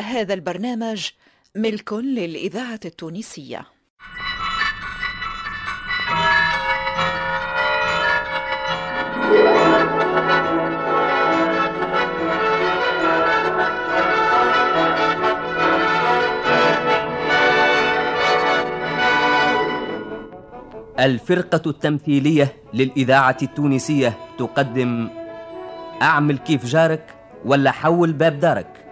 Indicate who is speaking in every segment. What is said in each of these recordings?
Speaker 1: هذا البرنامج ملك للإذاعة التونسية
Speaker 2: الفرقة التمثيلية للإذاعة التونسية تقدم أعمل كيف جارك ولا حول باب دارك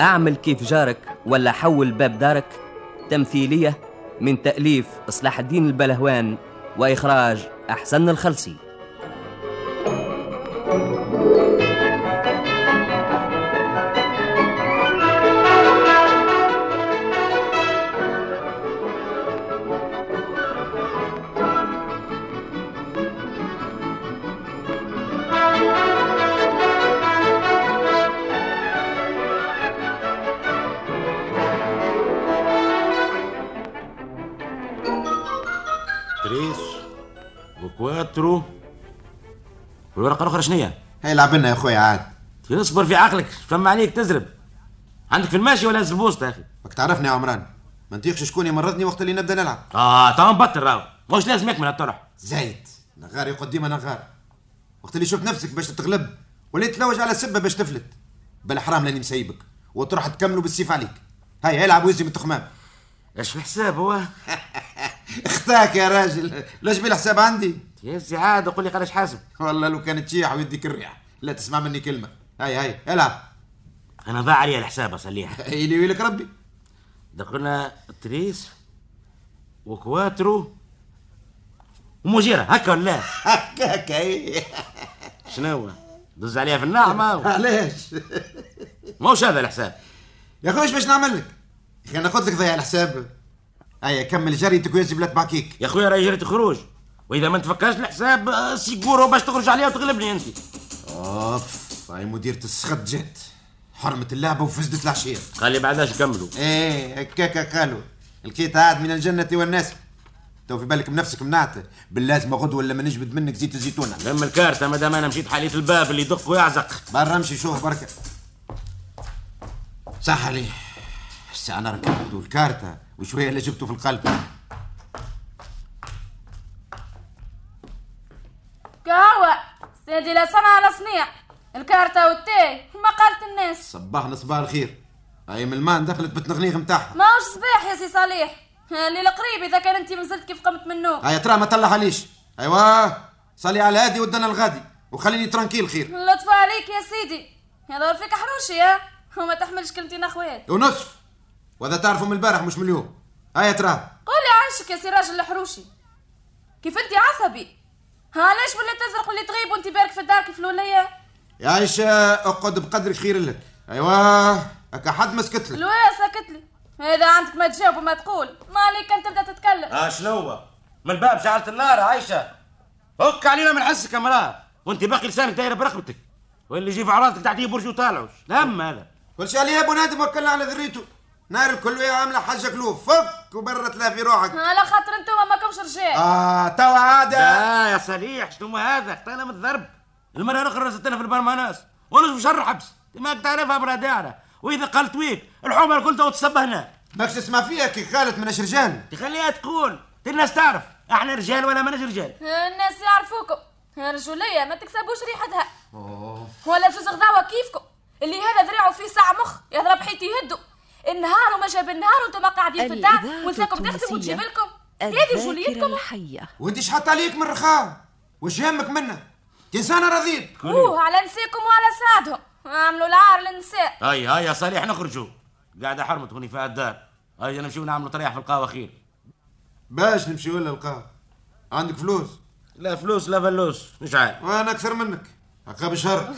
Speaker 2: أعمل كيف جارك ولا حول باب دارك تمثيلية من تأليف إصلاح الدين البلهوان وإخراج أحسن الخلصي
Speaker 3: تريس وكواترو والورقة الأخرى شنية؟
Speaker 4: هاي لعبنا يا خويا عاد
Speaker 3: اصبر في عقلك فما عليك تزرب عندك في الماشي ولا هز البوسطة يا أخي
Speaker 4: راك تعرفني يا عمران ما نطيقش شكون يمرضني وقت اللي نبدا نلعب
Speaker 3: آه تو مبطل راهو مش لازم يكمل الطرح
Speaker 4: زايد نغار يقعد ديما نغار وقت اللي شفت نفسك باش تتغلب وليت تلوج على السبه باش تفلت بالحرام لاني مسيبك وتروح تكملوا بالسيف عليك هاي العب وزي من التخمام
Speaker 3: اش في حساب هو؟
Speaker 4: اختاك يا راجل لاش بالحساب عندي
Speaker 3: يا سي عاد قول لي قلاش حاسب
Speaker 4: والله لو كانت تشيح ويديك الريح لا تسمع مني كلمه هاي هاي العب
Speaker 3: أنا ضاع علي الحساب أصليح
Speaker 4: ايلي ويلك ربي
Speaker 3: ده قلنا تريس وكواترو ومجيرة هكا ولا لا؟
Speaker 4: هكاك اي
Speaker 3: شنو؟ دز عليها في النعمة
Speaker 4: علاش
Speaker 3: موش هذا الحساب
Speaker 4: يا اخوي ايش باش نعمل لك؟ يا اخي انا قلت لك ضيع الحساب هيا كمل جري تكويزي بلا تبعكيك
Speaker 3: يا خويا راهي جريت خروج واذا ما تفكرش الحساب آه، سيكورو باش تخرج عليها وتغلبني انت
Speaker 4: اوف هاي مديرة السخط جات حرمت اللعبة وفسدت العشية
Speaker 3: خلي بعداش كملوا
Speaker 4: ايه هكاك قالوا لقيت عاد من الجنة والناس تو في بالك بنفسك منعته باللازم غدوة لما نجبد منك زيت الزيتونة
Speaker 3: لما الكارثه مادام انا مشيت حليت الباب اللي يدق ويعزق
Speaker 4: برا امشي شوف بركة صح عليه الساعة انا ركبت والكارتة وشوية اللي جبته في القلب
Speaker 5: قهوة سيدي لا صنع لا صنيع الكارتة والتاي ما قالت الناس
Speaker 4: صباحنا صباح الخير هاي من المان دخلت بالتنغنيغ نتاعها
Speaker 5: ماهوش صباح يا سي صالح الليل قريب اذا كان انت منزلت كيف قمت من النوم
Speaker 4: هيا ترى ما طلع عليش ايوا صلي على هادي ودنا الغادي وخليني ترانكيل خير
Speaker 5: لطف عليك يا سيدي يدور فيك حروشي ها وما تحملش كلمتين اخوات
Speaker 4: ونصف وهذا تعرفوا من البارح مش من اليوم هيا ترى
Speaker 5: قولي عايشك يا سي راجل الحروشي كيف انت عصبي ها علاش ولا تزرق ولا تغيب وانت بارك في الدار كيف الولية
Speaker 4: يا عيشة اقعد بقدر خير لك ايوا هكا حد مسكت لك
Speaker 5: الولية ساكت لي اذا عندك ما تجاوب وما تقول ما عليك كان تبدا تتكلم
Speaker 3: اه شنو هو؟ من الباب شعلت النار عايشه هك علينا من حسك يا مراه وانت باقي لسانك داير برقبتك واللي يجي في عراضك تعطيه برج وطالعوش الهم هذا
Speaker 4: كل شيء عليها ابو نادم وكلنا على ذريته نار الكلية عاملة حاجة كلوف فك وبرة لا في روحك
Speaker 5: على خاطر انتوما ماكمش رجال
Speaker 4: اه توا عادة
Speaker 3: لا يا صليح شنو هذا اختنا من الضرب المره الاخرى رزتنا في البرماناس ونصف شهر حبس ما تعرفها برادعنا واذا قالت ويك الحمر كلها وتصب هنا
Speaker 4: ماكش تسمع فيها كي قالت مناش رجال
Speaker 3: تخليها تقول الناس تعرف احنا رجال ولا ماناش رجال
Speaker 5: الناس يعرفوكم الرجولية ما تكسبوش ريحتها ولا زوز غداوة كيفكم اللي هذا ذراعه فيه ساعة مخ يضرب حيط يهدو النهار وما جاب النهار وانتم قاعدين في الدار
Speaker 1: الإذاعة
Speaker 5: ونساكم تخدم
Speaker 1: التونسية
Speaker 5: وتجيب لكم هذه
Speaker 1: الذاكرة
Speaker 5: رجوليتكم
Speaker 1: الحية
Speaker 4: وانت شحط عليك من الرخام وش يهمك منا تنسانا رضيت
Speaker 5: اوه على نساكم وعلى ساعدهم عملوا العار للنساء
Speaker 3: هيا هيا صالح نخرجوا قاعدة حرمت هوني في الدار هيا نمشيو نعملوا طريح في القهوة خير
Speaker 4: باش نمشي ولا القاه عندك فلوس
Speaker 3: لا فلوس لا فلوس مش عارف
Speaker 4: وانا اكثر منك عقاب شهر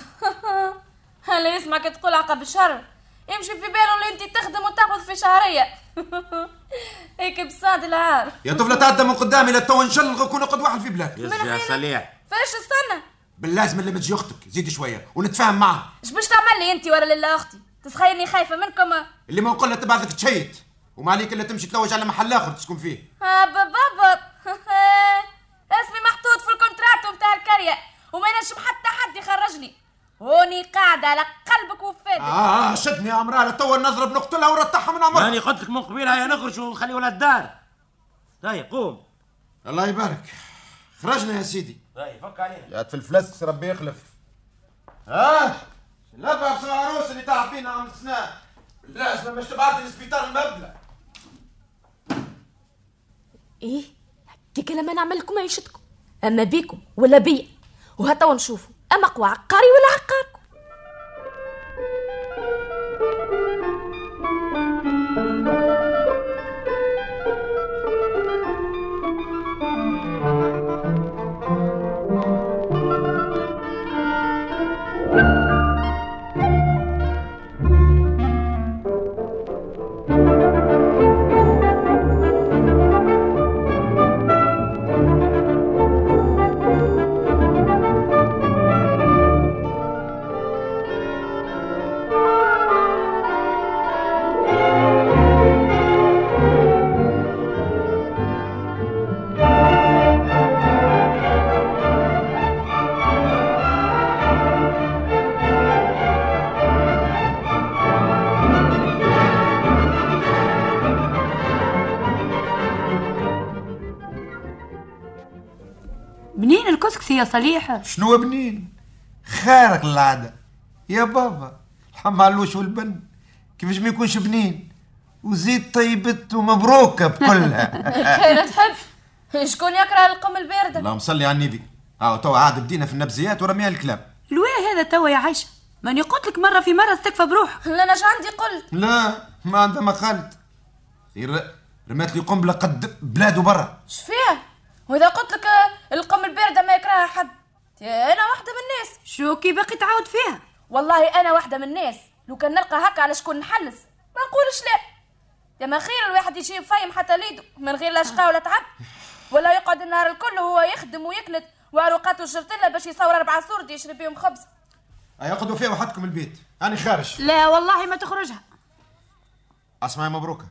Speaker 5: اللي يسمعك تقول عقب الشر يمشي في باله اللي انت تخدم وتقبض في شهرية هيك بصاد العار
Speaker 4: يا طفلة تعدى من قدامي لتو نشلغ وكون قد واحد في بلادي
Speaker 3: يس يا صالح
Speaker 5: فاش استنى
Speaker 4: باللازم اللي متجي اختك زيد شويه ونتفاهم معها
Speaker 5: اش باش تعمل لي انت ولا لالا اختي تسخيرني خايفه منكم
Speaker 4: اللي ما نقول لها تبعثك تشيت وما عليك الا تمشي تلوج على محل اخر تسكن فيه
Speaker 5: آه، بابا اسمي محطوط في الكونتراتو متاع الكريه وما ينجم حتى حد يخرجني هوني قاعده على قلبك وفادك
Speaker 4: اه شدني يا امراه تو نضرب نقتلها ونرتاحها من عمرها
Speaker 3: ماني قلت لك من قبيل هيا نخرج ونخلي ولاد الدار هيا قوم
Speaker 4: الله يبارك خرجنا يا سيدي
Speaker 3: هيا طيب، فك علينا
Speaker 4: يا في الفلس ربي يخلف اه لبس العروس اللي تعب فينا عم السنان بالله مش تبعثني للسبيطار المبلى
Speaker 5: ايه هكاك لما نعمل لكم عيشتكم اما بيكم ولا بيا وهتوا نشوفوا اما قوى عقاري ولا عقاركم
Speaker 6: منين الكسكسي يا صليحة؟
Speaker 4: شنو بنين خارق العادة يا بابا الحم علوش والبن كيفاش ما يكونش بنين وزيد طيبت ومبروكة بكلها
Speaker 5: لا تحب شكون يكره القم البارده
Speaker 4: اللهم صلي على النبي اه تو عاد بدينا في النبزيات ورميها الكلاب
Speaker 6: لواه هذا توا يا عايشة؟ ماني قلت لك مرة في مرة استكفى بروحك
Speaker 5: لا انا شو عندي قلت
Speaker 4: لا ما عندها ما خالد غير رمات لي قنبلة قد بلاد وبرا
Speaker 5: شو فيها واذا قلت لك آه، القم البارده ما يكرهها حد يا انا واحده من الناس
Speaker 6: شو كي باقي تعاود فيها؟
Speaker 5: والله انا واحده من الناس لو كان نلقى هكا على شكون نحلس ما نقولش لا يا ما خير الواحد يجي فايم حتى ليدو من غير لا شقا ولا تعب ولا يقعد النهار الكل وهو يخدم ويكلت وعروقاته شرطله باش يصور اربعه سورد يشرب بيهم خبز
Speaker 4: اي اخذوا فيها وحدكم البيت انا خارج
Speaker 6: لا والله ما تخرجها
Speaker 4: اسمعي مبروكة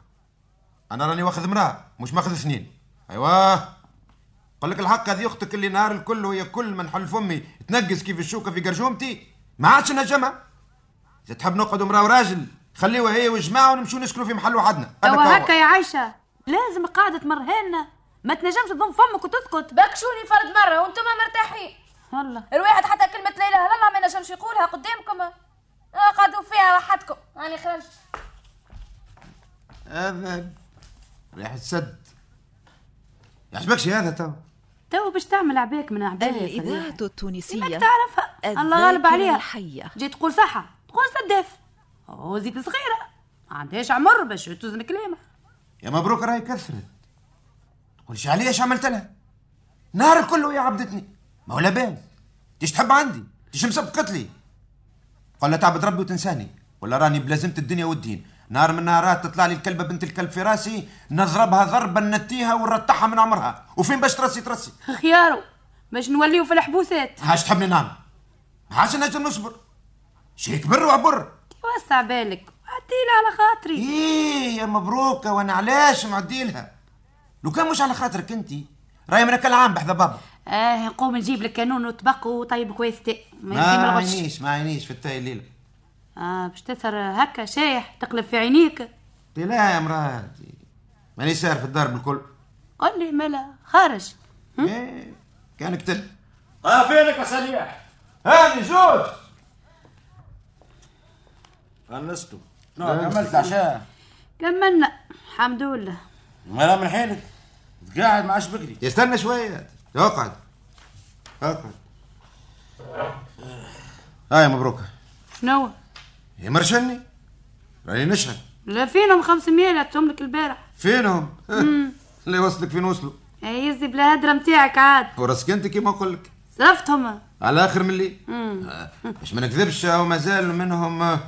Speaker 4: انا راني واخذ امرأة مش ماخذ اثنين ايوه قال لك الحق هذه اختك اللي نهار الكل وهي كل ما نحل فمي تنقز كيف الشوكه في قرجومتي ما عادش نجمة اذا تحب نقعد امرأة وراجل خليوها هي والجماعة ونمشيو نسكنوا في محل وحدنا أنا
Speaker 6: توا
Speaker 4: كهوة.
Speaker 6: هكا يا عايشة لازم قاعدة مرهنة ما تنجمش تضم فمك وتسكت
Speaker 5: بكشوني فرد مره وانتم مرتاحين
Speaker 6: والله
Speaker 5: الواحد حتى كلمة لا إله إلا الله ما نجمش يقولها قدامكم آه، قعدوا فيها وحدكم راني خرج
Speaker 4: هذا ريحة سد يعجبكش هذا تو
Speaker 6: توا باش تعمل عباك من عبالي يا صليحة
Speaker 1: الإذاعة التونسية
Speaker 6: انك تعرفها الله غالب
Speaker 1: الذاكرة
Speaker 6: عليها
Speaker 1: الحية.
Speaker 6: جاي تقول صحة تقول سداف وزيد صغيرة ما عندهاش عمر باش توزن كلامها
Speaker 4: يا مبروك راهي كثرت تقولش علي ايش عملت لها نهار الكل وهي عبدتني ما هو لاباس تيش تحب عندي تيش مسبقت لي قال لها تعبد ربي وتنساني ولا راني بلازمة الدنيا والدين نهار من نهارات تطلع لي الكلبة بنت الكلب في راسي نضربها ضربة نتيها ونرتاحها من عمرها وفين باش ترسي ترسي
Speaker 6: خيارو باش نوليو في الحبوسات
Speaker 4: هاش تحبني نعم. نعمل هاش نجم نصبر شيء كبر وعبر
Speaker 6: وسع بالك عديلة على خاطري
Speaker 4: ايه يا مبروكة وانا علاش معديلها لو كان مش على خاطرك انت راهي من كل عام بحذا بابا
Speaker 6: اه نقوم نجيب لك كانون وطبق وطيب كويستي ما
Speaker 4: ما
Speaker 6: يزي ما الغش
Speaker 4: عينيش ما عينيش في التاي الليلة
Speaker 6: اه باش تسهر هكا شايح تقلب في عينيك
Speaker 4: قلت لا يا مراتي ماني ساهر في الدار بالكل
Speaker 6: قل لي ملا خارج
Speaker 4: إيه، كان قتل
Speaker 3: ها فينك يا صليح
Speaker 4: هاني زوج
Speaker 3: خلصتوا
Speaker 4: عملت العشاء
Speaker 6: كملنا الحمد لله
Speaker 3: ما من حينك قاعد مع شبكري
Speaker 4: استنى شوية اقعد اقعد هاي آه، مبروكة
Speaker 6: شنو
Speaker 4: يا مرشني راني نشهد
Speaker 6: لا فينهم 500 لعبتهم لك البارح
Speaker 4: فينهم اللي يوصلك فين وصلوا
Speaker 6: آه، يزي بلا هدرة متاعك عاد
Speaker 4: وراسك انت كيما نقول لك
Speaker 6: صرفتهم
Speaker 4: على اخر من الليل آه، باش ما نكذبش هو مازال منهم آه،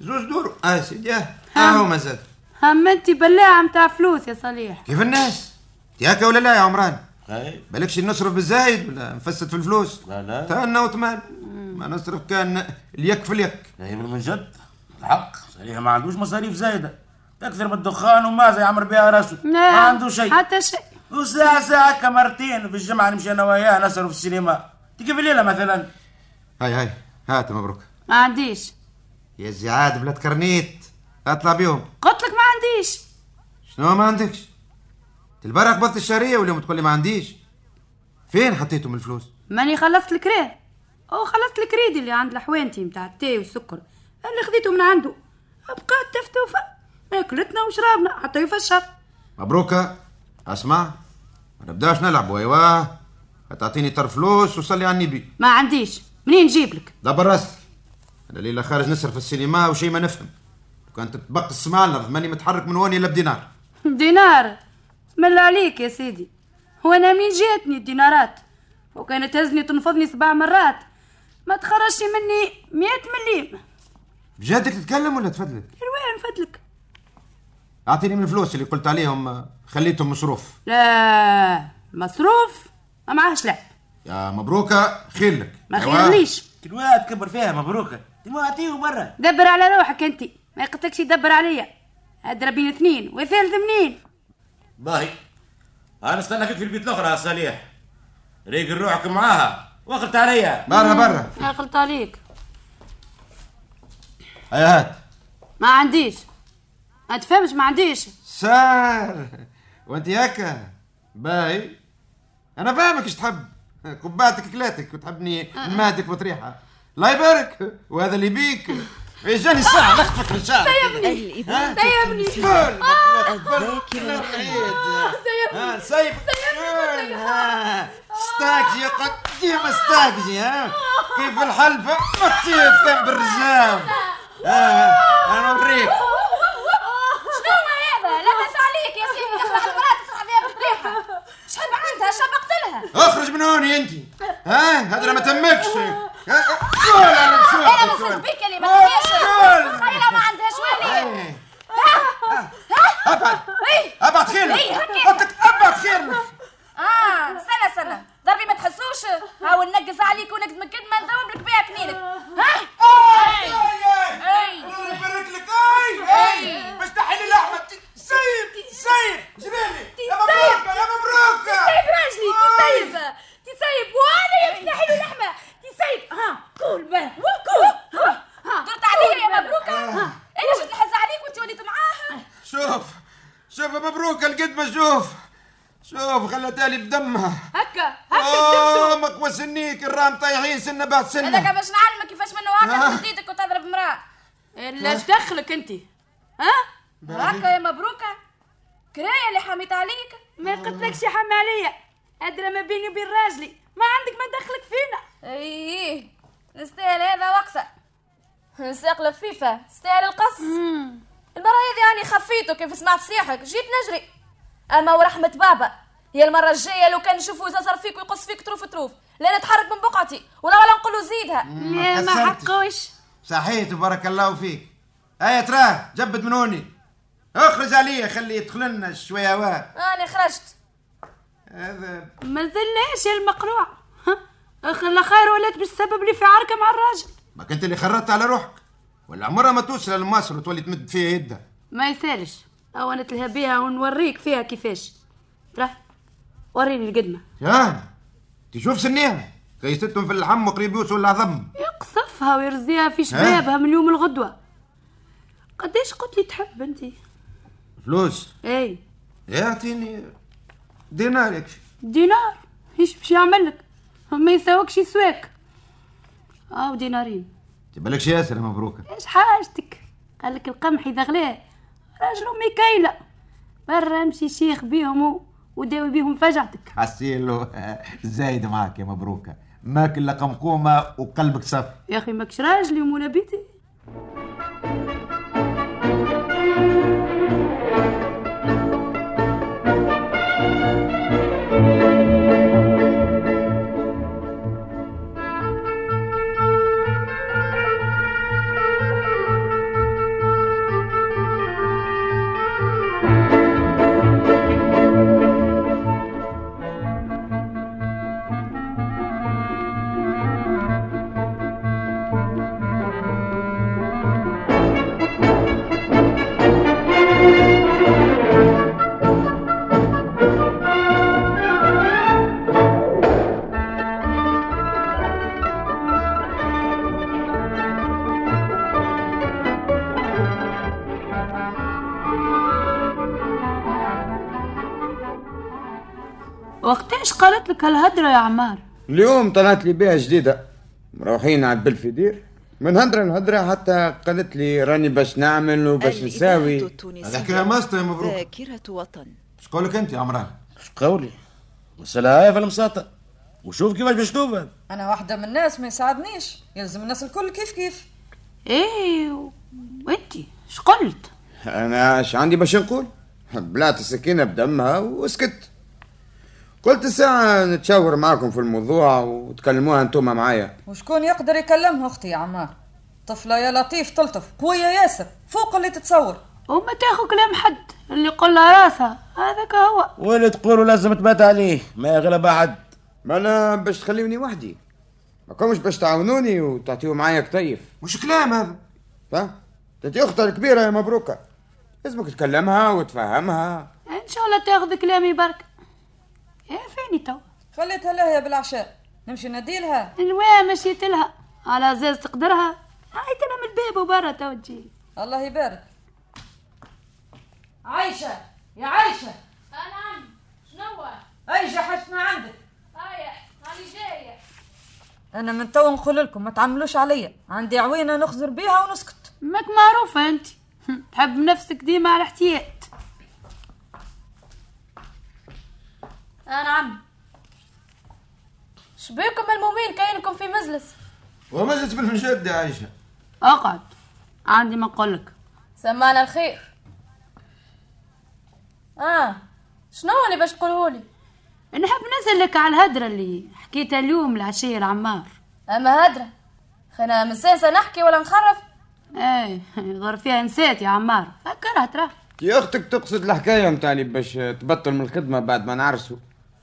Speaker 4: زوج دور اه سيدي اه هو مازال
Speaker 6: همنتي بلاعة متاع فلوس يا صليح
Speaker 4: كيف الناس ياك ولا لا يا عمران
Speaker 3: هاي
Speaker 4: بالكش نصرف بالزايد ولا نفسد في الفلوس
Speaker 3: لا لا
Speaker 4: تهنى وتمان ما نصرف كان اليك في اليك
Speaker 3: هاي طيب، من جد
Speaker 4: الحق
Speaker 3: صحيح ما عندوش مصاريف زايده تكثر من الدخان وماذا يعمر بها راسه ما عنده شيء
Speaker 6: حتى شيء
Speaker 3: وساعة ساعة هكا مرتين في الجمعة نمشي أنا وياه نسهروا في السينما تيجي في الليلة مثلا
Speaker 4: هاي هاي هات مبروك
Speaker 6: ما عنديش
Speaker 4: يا زي عاد بلاد كرنيت اطلع بيهم
Speaker 6: قلت لك ما عنديش
Speaker 4: شنو ما عندكش البارح قبضت الشهريه واليوم تقول لي ما عنديش فين حطيتهم الفلوس
Speaker 6: ماني خلصت الكراه او خلصت الكريدي اللي عند الحوانتي متاع التاي والسكر اللي خذيته من عنده بقات تفتوفة اكلتنا وشربنا حتى يفشر
Speaker 4: مبروك اسمع ما نبداش نلعبوا ايوا تعطيني طرف فلوس وصلي على النبي
Speaker 6: ما عنديش منين نجيب لك
Speaker 4: دبر راسك انا ليله خارج نصرف في السينما وشي ما نفهم لو كانت تبقى السماع لنا ماني متحرك من وين الا بدينار
Speaker 6: دينار بسم الله عليك يا سيدي وانا مين جاتني الدينارات وكانت تهزني تنفضني سبع مرات ما تخرجش مني مئة مليم
Speaker 4: بجدك تتكلم ولا تفضلك
Speaker 6: الوين فاتلك
Speaker 4: اعطيني من الفلوس اللي قلت عليهم خليتهم مصروف
Speaker 6: لا مصروف ما معاهش لعب
Speaker 4: يا مبروك خير لك أيوة.
Speaker 6: ما
Speaker 4: أيوا.
Speaker 6: خيرنيش
Speaker 3: تلوها تكبر فيها مبروك تلوها أعطيه برا
Speaker 6: دبر على روحك انت ما يقتلكش يدبر عليا اضرب بين اثنين وثالث منين
Speaker 3: باهي أنا استناك في البيت الأخرى يا صالح ريق روحك معاها وقلت عليا
Speaker 4: برا برا
Speaker 6: غلط عليك
Speaker 4: هيا أيوة، هات
Speaker 6: ما عنديش ما تفهمش ما عنديش
Speaker 4: سار وانت هكا باي انا فاهمك ايش تحب قبعتك كلاتك وتحبني ماتك وتريحه الله يبارك وهذا اللي بيك جاني الساعه نخطفك ان شاء الله
Speaker 1: الإذاعة
Speaker 6: سيبني
Speaker 1: التونسية
Speaker 4: الذاكره
Speaker 5: آه. سيبني.
Speaker 4: آه، سيب كل، ها. استاكجي قديم استاكجي ها كيف الحلفة مطيب كان بالرجال آه، ها، انا نوريك
Speaker 5: شنو هذا؟ لبس عليك يا سيدي تخلع المرأة تطلع بها بالريحة شحال عندها شاب قتلها
Speaker 4: اخرج من هون يا انت ها هذا ما تمكش ها، قول انا
Speaker 5: أنا
Speaker 4: بشوفك
Speaker 5: مسك
Speaker 4: قول.
Speaker 5: بك اللي ما تبيش
Speaker 4: قول.
Speaker 5: خايلة ما عندهاش والي
Speaker 4: إيه. ابعد ابعد خيرك
Speaker 5: إيه، هكا.
Speaker 4: قلت لك ابعد خيرك
Speaker 5: اه سنة سنة ضربي ما تحسوش هاو ننقص عليك ونقد من قد ما نذوب لك بها كنينك ها أي.
Speaker 4: الله يبارك لك اي
Speaker 5: إيه.
Speaker 4: اي باش تحلي لحمه سيب سيب جبالي يا مبروك يا مبروك
Speaker 5: تسيب راجلي
Speaker 4: أي.
Speaker 5: تسيب تسيب وانا يفتح له لحمة تسيب ها قول باه قول ها ها درت عليا يا مبروكة انا شفت الحز عليك وانت وليت معاها
Speaker 4: شوف شوف يا مبروك القد ما شوف شوف خلتها لي بدمها
Speaker 6: هكا هكا
Speaker 4: اه مقوى سنيك الرام طايحين سنه بعد
Speaker 5: هذاك
Speaker 4: سنه
Speaker 5: باش نعلمك كيفاش منه هكا تمد يدك وتضرب امرأة
Speaker 6: الا دخلك انت ها
Speaker 5: هكا يا مبروكة كراية اللي حميت عليك
Speaker 6: ما قلتلكش يا حمى عليا ادرى ما بيني وبين راجلي ما عندك ما دخلك فينا
Speaker 5: ايه نستاهل هذا وقفة نساق لفيفة نستاهل القص المرة هذه راني خفيته كيف سمعت صيحك جيت نجري اما ورحمة بابا هي المرة الجاية لو كان نشوفه يزرزر فيك ويقص فيك تروف تروف لا نتحرك من بقعتي ولا ولا نقول له زيدها
Speaker 6: لا ما
Speaker 4: كسرتش.
Speaker 6: حقوش
Speaker 4: صحيت وبارك الله فيك هيا تراه جبد من هوني اخرج عليا خلي يدخل لنا شويه هواء
Speaker 5: انا خرجت
Speaker 4: هذا
Speaker 6: ما زلناش يا المقروع ها، اخر خير ولات بالسبب اللي في عركه مع الراجل
Speaker 4: ما كنت اللي خرجت على روحك ولا عمرها ما توصل لمصر وتولي تمد فيها يدها
Speaker 6: ما يسالش او انا تلهى بيها ونوريك فيها كيفاش راه وريني القدمه
Speaker 4: يا تشوف سنيها غيستهم في اللحم وقريب يوصل للعظم
Speaker 6: يقصفها ويرزيها في شبابها من اليوم الغدوه قداش قلت لي تحب إيه. انت
Speaker 4: فلوس
Speaker 6: اي
Speaker 4: يا اعطيني دينار يكفي
Speaker 6: دينار ايش باش يعمل لك ما يساوكش يسواك او دينارين
Speaker 4: تبالك ياسر مبروكة
Speaker 6: ايش حاجتك قال لك القمح اذا غلاه راجل امي كايله برا امشي شيخ بيهم و- وداوي بيهم فجعتك
Speaker 4: حسيلو زايد معاك يا مبروكة ماكل إلا قمقومة وقلبك صافي
Speaker 6: يا اخي ماكش راجل يا مولا بيتي وقتاش قالت لك هالهدرة يا عمار
Speaker 4: اليوم طلعت لي بيها جديدة مروحين على البلفدير من هدرة لهدرة حتى قالت لي راني باش نعمل وباش
Speaker 1: الإذاعة
Speaker 4: نساوي
Speaker 1: التونسية
Speaker 7: هذاك يا ماستر مبروك
Speaker 1: ذاكرة وطن
Speaker 7: شقولك انت يا عمران
Speaker 3: اش قولي مسألة هاي في المساطة وشوف كيفاش باش توفى
Speaker 8: انا واحده من الناس ما يساعدنيش يلزم الناس الكل كيف كيف
Speaker 6: ايه و- وانتي شقلت
Speaker 4: أنا اش عندي باش نقول بلعت السكينة بدمها وسكت قلت الساعة نتشاور معاكم في الموضوع وتكلموها انتوما معايا
Speaker 8: وشكون يقدر يكلمها اختي يا عمار طفله يا لطيف تلطف قويه ياسر فوق اللي تتصور
Speaker 6: وما تاخو كلام حد اللي يقولها راسها هذاك هو
Speaker 3: واللي تقولوا لازم تبات عليه ما يغلب أحد
Speaker 4: ما أنا باش تخليوني وحدي ما كومش باش تعاونوني وتعطيو معايا كتيف
Speaker 7: وش كلام هذا
Speaker 4: فاهم تتي أختها الكبيرة يا مبروكة لازمك تكلمها وتفهمها
Speaker 6: ان شاء الله تاخذ كلامي برك ايه فيني تو
Speaker 8: خليتها لها بالعشاء نمشي نديلها
Speaker 6: الوا مشيت لها على زاز تقدرها هاي انا من الباب وبرا تو تجي
Speaker 8: الله يبارك عايشه يا عايشه
Speaker 5: نعم شنو
Speaker 8: اي حشنا عندك
Speaker 5: هيا هاني جايه
Speaker 8: انا من تو نقول لكم ما تعملوش عليا عندي عوينه نخزر بيها ونسكت
Speaker 6: ماك معروفة انت تحب نفسك ديما على احتياط
Speaker 5: آه نعم شبيكم هالمومين كاينكم في مجلس
Speaker 7: ومزت بالمجد يا عائشة
Speaker 6: اقعد عندي ما نقولك
Speaker 5: سمعنا الخير اه شنو اللي باش تقولهولي
Speaker 6: نحب نسألك على الهدرة اللي حكيتها اليوم العشية لعمار
Speaker 5: اما هدرة خلينا من سنسة نحكي ولا نخرف
Speaker 6: ايه ضر فيها نسيت يا عمار فكرها ترى
Speaker 4: يا أختك تقصد الحكاية متاع اللي باش تبطل من الخدمة بعد ما نعرسوا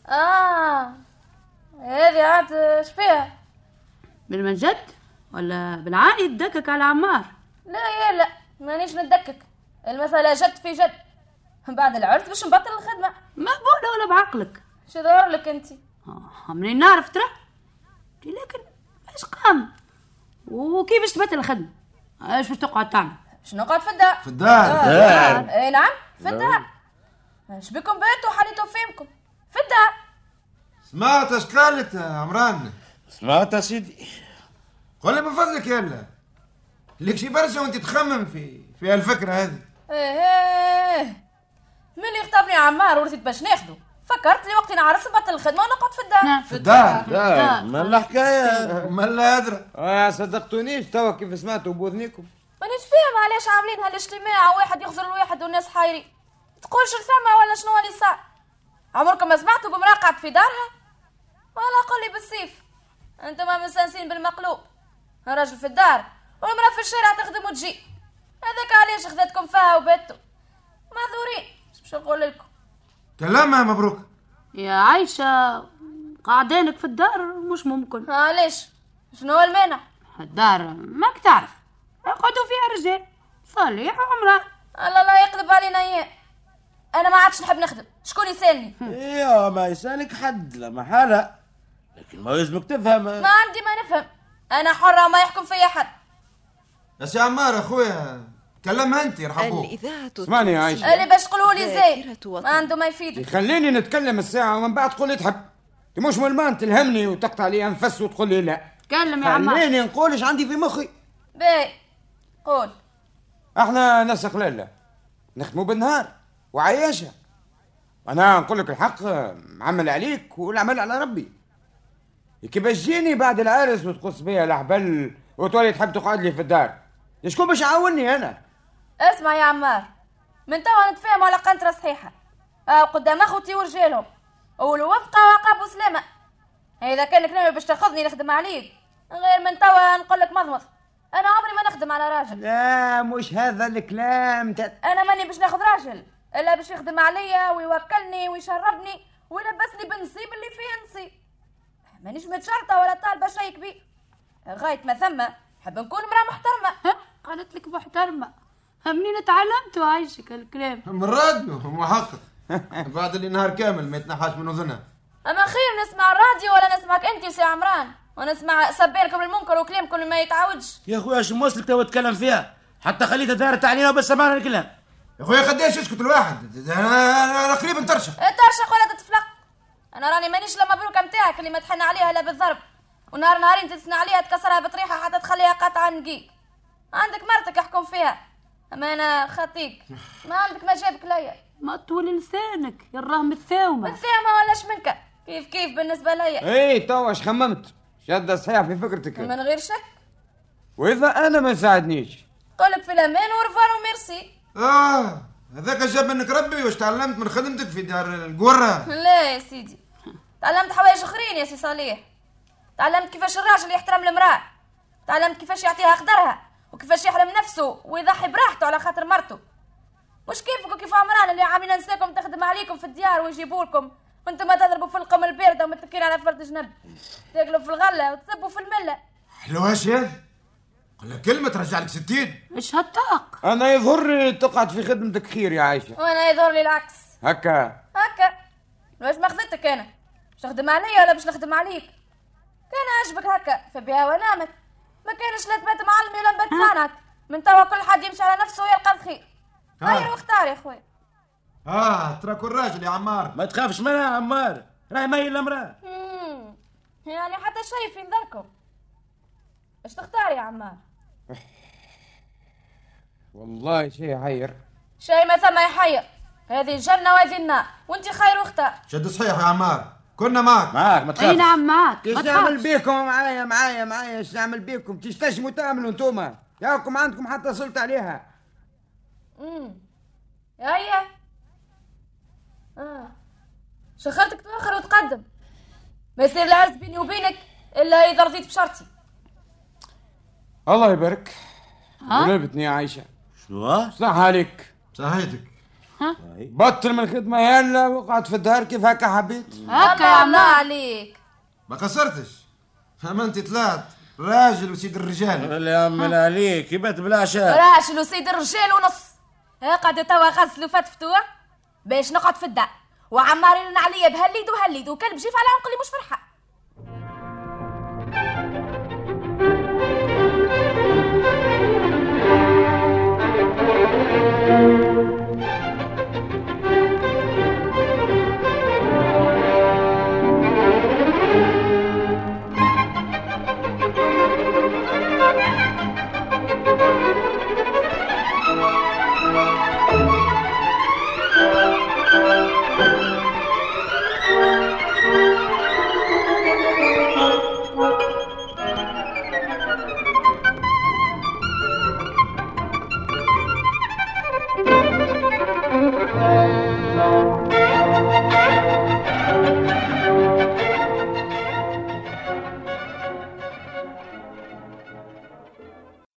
Speaker 5: اه هذه عاد اش فيها
Speaker 6: بالمجد ولا بالعاني تدكك على عمار
Speaker 5: لا يا لا مانيش نتدكك المسألة جد في جد بعد العرس باش نبطل الخدمة
Speaker 6: مقبولة ولا بعقلك
Speaker 5: شو ظهر لك انت
Speaker 6: آه، منين نعرف ترى قلت لكن اش قام وكيف باش تبطل الخدمة اش باش تقعد تعمل
Speaker 5: باش نقعد في الدار
Speaker 7: في الدار
Speaker 3: دار.
Speaker 5: اي آه، نعم في الدار اش بكم بيتوا حليتوا فيمكم في الدار
Speaker 7: سمعت اش قالت يا عمران
Speaker 3: سمعت يا سيدي
Speaker 7: قول لي من فضلك يلا ليك شي برشا وانت تخمم في في هالفكرة هذه
Speaker 5: ايه ايه من يخطبني عمار ورثت باش ناخده فكرت لي وقت نعرس نبطل الخدمه ونقعد في الدار
Speaker 7: في الدار
Speaker 6: دار.
Speaker 3: ما الحكاية
Speaker 7: ملا أدرى
Speaker 4: آه صدقتونيش توا كيف سمعتوا بوذنيكم
Speaker 5: مانيش فاهم علاش عاملين هالاجتماع واحد يخزر الواحد والناس حايرين تقولش الثمة ولا شنو اللي صار عمركم ما سمعتوا بمرأة قاعد في دارها ولا قولي بالسيف انتما مستانسين بالمقلوب الرجل في الدار والمرأة في الشارع تخدم وتجي هذاك علاش خذتكم فيها وباتوا معذورين إيش باش نقول لكم
Speaker 7: كلامها مبروك
Speaker 6: يا عايشة قعدانك في الدار مش ممكن
Speaker 5: علاش شنو المانع
Speaker 6: الدار ماك تعرف يقعدوا فيها رجال صالح وعمران
Speaker 5: الله الله يقلب علينا اياه انا ما عادش نحب نخدم شكون يسالني
Speaker 3: ايه ما يسالك حد لا محالة لكن ما يلزمك تفهم
Speaker 5: ما عندي ما نفهم انا حره وما يحكم فيا حد
Speaker 7: يا سي عمار اخويا كلمها انت يرحبوك
Speaker 1: الإذاعة
Speaker 4: اسمعني يا عايشة.
Speaker 5: اللي باش تقولوا لي زي
Speaker 1: ذاكرة وطن.
Speaker 5: ما عنده ما يفيدك
Speaker 4: خليني نتكلم الساعة ومن بعد تقول لي تحب انت مش ملمان تلهمني وتقطع لي انفس وتقول لي لا
Speaker 6: تكلم يا عمار
Speaker 4: خليني نقول ايش عندي في مخي
Speaker 5: باي قول
Speaker 4: احنا ناس قلالة نخدموا بالنهار وعياشة انا نقول لك الحق عمل عليك والعمل على ربي كي باش تجيني بعد العرس وتقص بيا الحبل وتولي تحب تقعد لي في الدار شكون باش يعاوني انا
Speaker 5: اسمع يا عمار من توا نتفاهموا على قنطره صحيحه او قدام اخوتي آه، ورجالهم والوفقه وعقاب وسلامه اذا كان كلامي باش تاخذني نخدم عليك غير من توا نقول لك مضمض انا عمري ما نخدم على راجل
Speaker 4: لا مش هذا الكلام
Speaker 5: انا ماني باش ناخذ راجل الا باش يخدم عليا ويوكلني ويشربني ويلبسني بالنصيب اللي فيه نصيب مانيش متشرطه ولا طالبه شيء كبير غايه ما ثم حب نكون مراه محترمه
Speaker 6: ها، قالت لك محترمة منين تعلمتوا عايشك الكلام
Speaker 7: من راديو هو حقك بعد اللي نهار كامل ما يتنحاش من اذنها
Speaker 5: اما خير نسمع الراديو ولا نسمعك انت وسي عمران ونسمع سبيلكم المنكر وكلامكم ما يتعاودش
Speaker 3: يا خويا اش موصلك توا تتكلم فيها حتى خليتها دارت علينا وبس سمعنا الكلام
Speaker 7: يا اخويا قداش يسكت الواحد انا أنا- أنا قريب نترشح
Speaker 5: ترشق ولا تتفلق انا راني مانيش لا مبروكه متاعك اللي ما تحن عليها لا بالضرب ونهار نهارين تثنى عليها تكسرها بطريحه حتى تخليها قطعه نقي عندك مرتك احكم فيها اما انا خطيك ما عندك ما جابك ليا
Speaker 6: ما طول لسانك يا الرهم الثاومه
Speaker 5: متفاهمه ولاش منك كيف كيف بالنسبه ليا
Speaker 9: اي توا اش إيه، خممت شادة صحيح في فكرتك
Speaker 5: من غير شك
Speaker 9: واذا انا ما ساعدنيش
Speaker 5: قلب في الامان ورفار وميرسي
Speaker 4: اه هذاك جاب منك ربي واش تعلمت من خدمتك في دار القرة
Speaker 5: لا يا سيدي تعلمت حوايج اخرين يا سي صالح تعلمت كيفاش الراجل يحترم المراه تعلمت كيفاش يعطيها قدرها وكيفاش يحرم نفسه ويضحي براحته على خاطر مرته مش كيفك وكيف عمران اللي عاملين نساكم تخدم عليكم في الديار ويجيبوا لكم وانتم ما تضربوا في القم البارده ومتكين على فرد جنب تاكلوا في الغله وتسبوا في المله
Speaker 4: حلوهاش هذا قال لك كلمة ترجع لك ستين
Speaker 6: اش هالطاق
Speaker 9: انا يظهر تقعد في خدمتك خير يا عائشه
Speaker 5: وانا يظهر لي العكس
Speaker 9: هكا
Speaker 5: هكا واش ما خذتك انا باش نخدم عليا ولا باش نخدم عليك كان عجبك هكا فبها ونعمت ما كانش لا تبات معلم ولا نبات صانعك من توا كل حد يمشي على نفسه ويلقى الخير غير واختار يا خويا
Speaker 4: اه تراك الراجل يا عمار
Speaker 3: ما تخافش منها يا عمار راهي ماهي المراه
Speaker 5: مم. يعني حتى شيء في نظركم اش تختار يا عمار
Speaker 9: والله شيء عير
Speaker 5: شيء ما ثم يحير هذه الجنة وهذه النار وانت خير واختار
Speaker 4: شد صحيح يا عمار كنا معك
Speaker 9: معاك ما
Speaker 6: اي
Speaker 9: تخافش
Speaker 6: نعم معك
Speaker 9: كيش
Speaker 6: ما
Speaker 9: نعمل
Speaker 6: تخافش
Speaker 9: بيكم معايا معايا معايا اش نعمل بيكم تشتشموا تعملوا انتوما ياكم عندكم حتى سلطة عليها
Speaker 5: امم هيا اه شخرتك تاخر وتقدم ما يصير العرس بيني وبينك الا اذا رضيت بشرطي
Speaker 9: الله يبارك
Speaker 6: ها؟
Speaker 9: غلبتني يا عائشة
Speaker 3: شنو
Speaker 9: صح عليك
Speaker 4: صحيتك
Speaker 9: بطل من الخدمة يلا واقعد في الدار كيف هكا حبيت
Speaker 6: هكا
Speaker 5: الله
Speaker 6: يا
Speaker 5: الله
Speaker 6: عمار
Speaker 5: عليك
Speaker 4: ما قصرتش فما انت طلعت راجل وسيد الرجال
Speaker 3: يا من عليك يبات بلا عشاء
Speaker 5: راجل وسيد الرجال ونص ها قاعدة توا غسل وفتفتوا باش نقعد في الدار وعمار يرن عليا بهالليد وهالليد وكلب جيف على عنقلي مش فرحة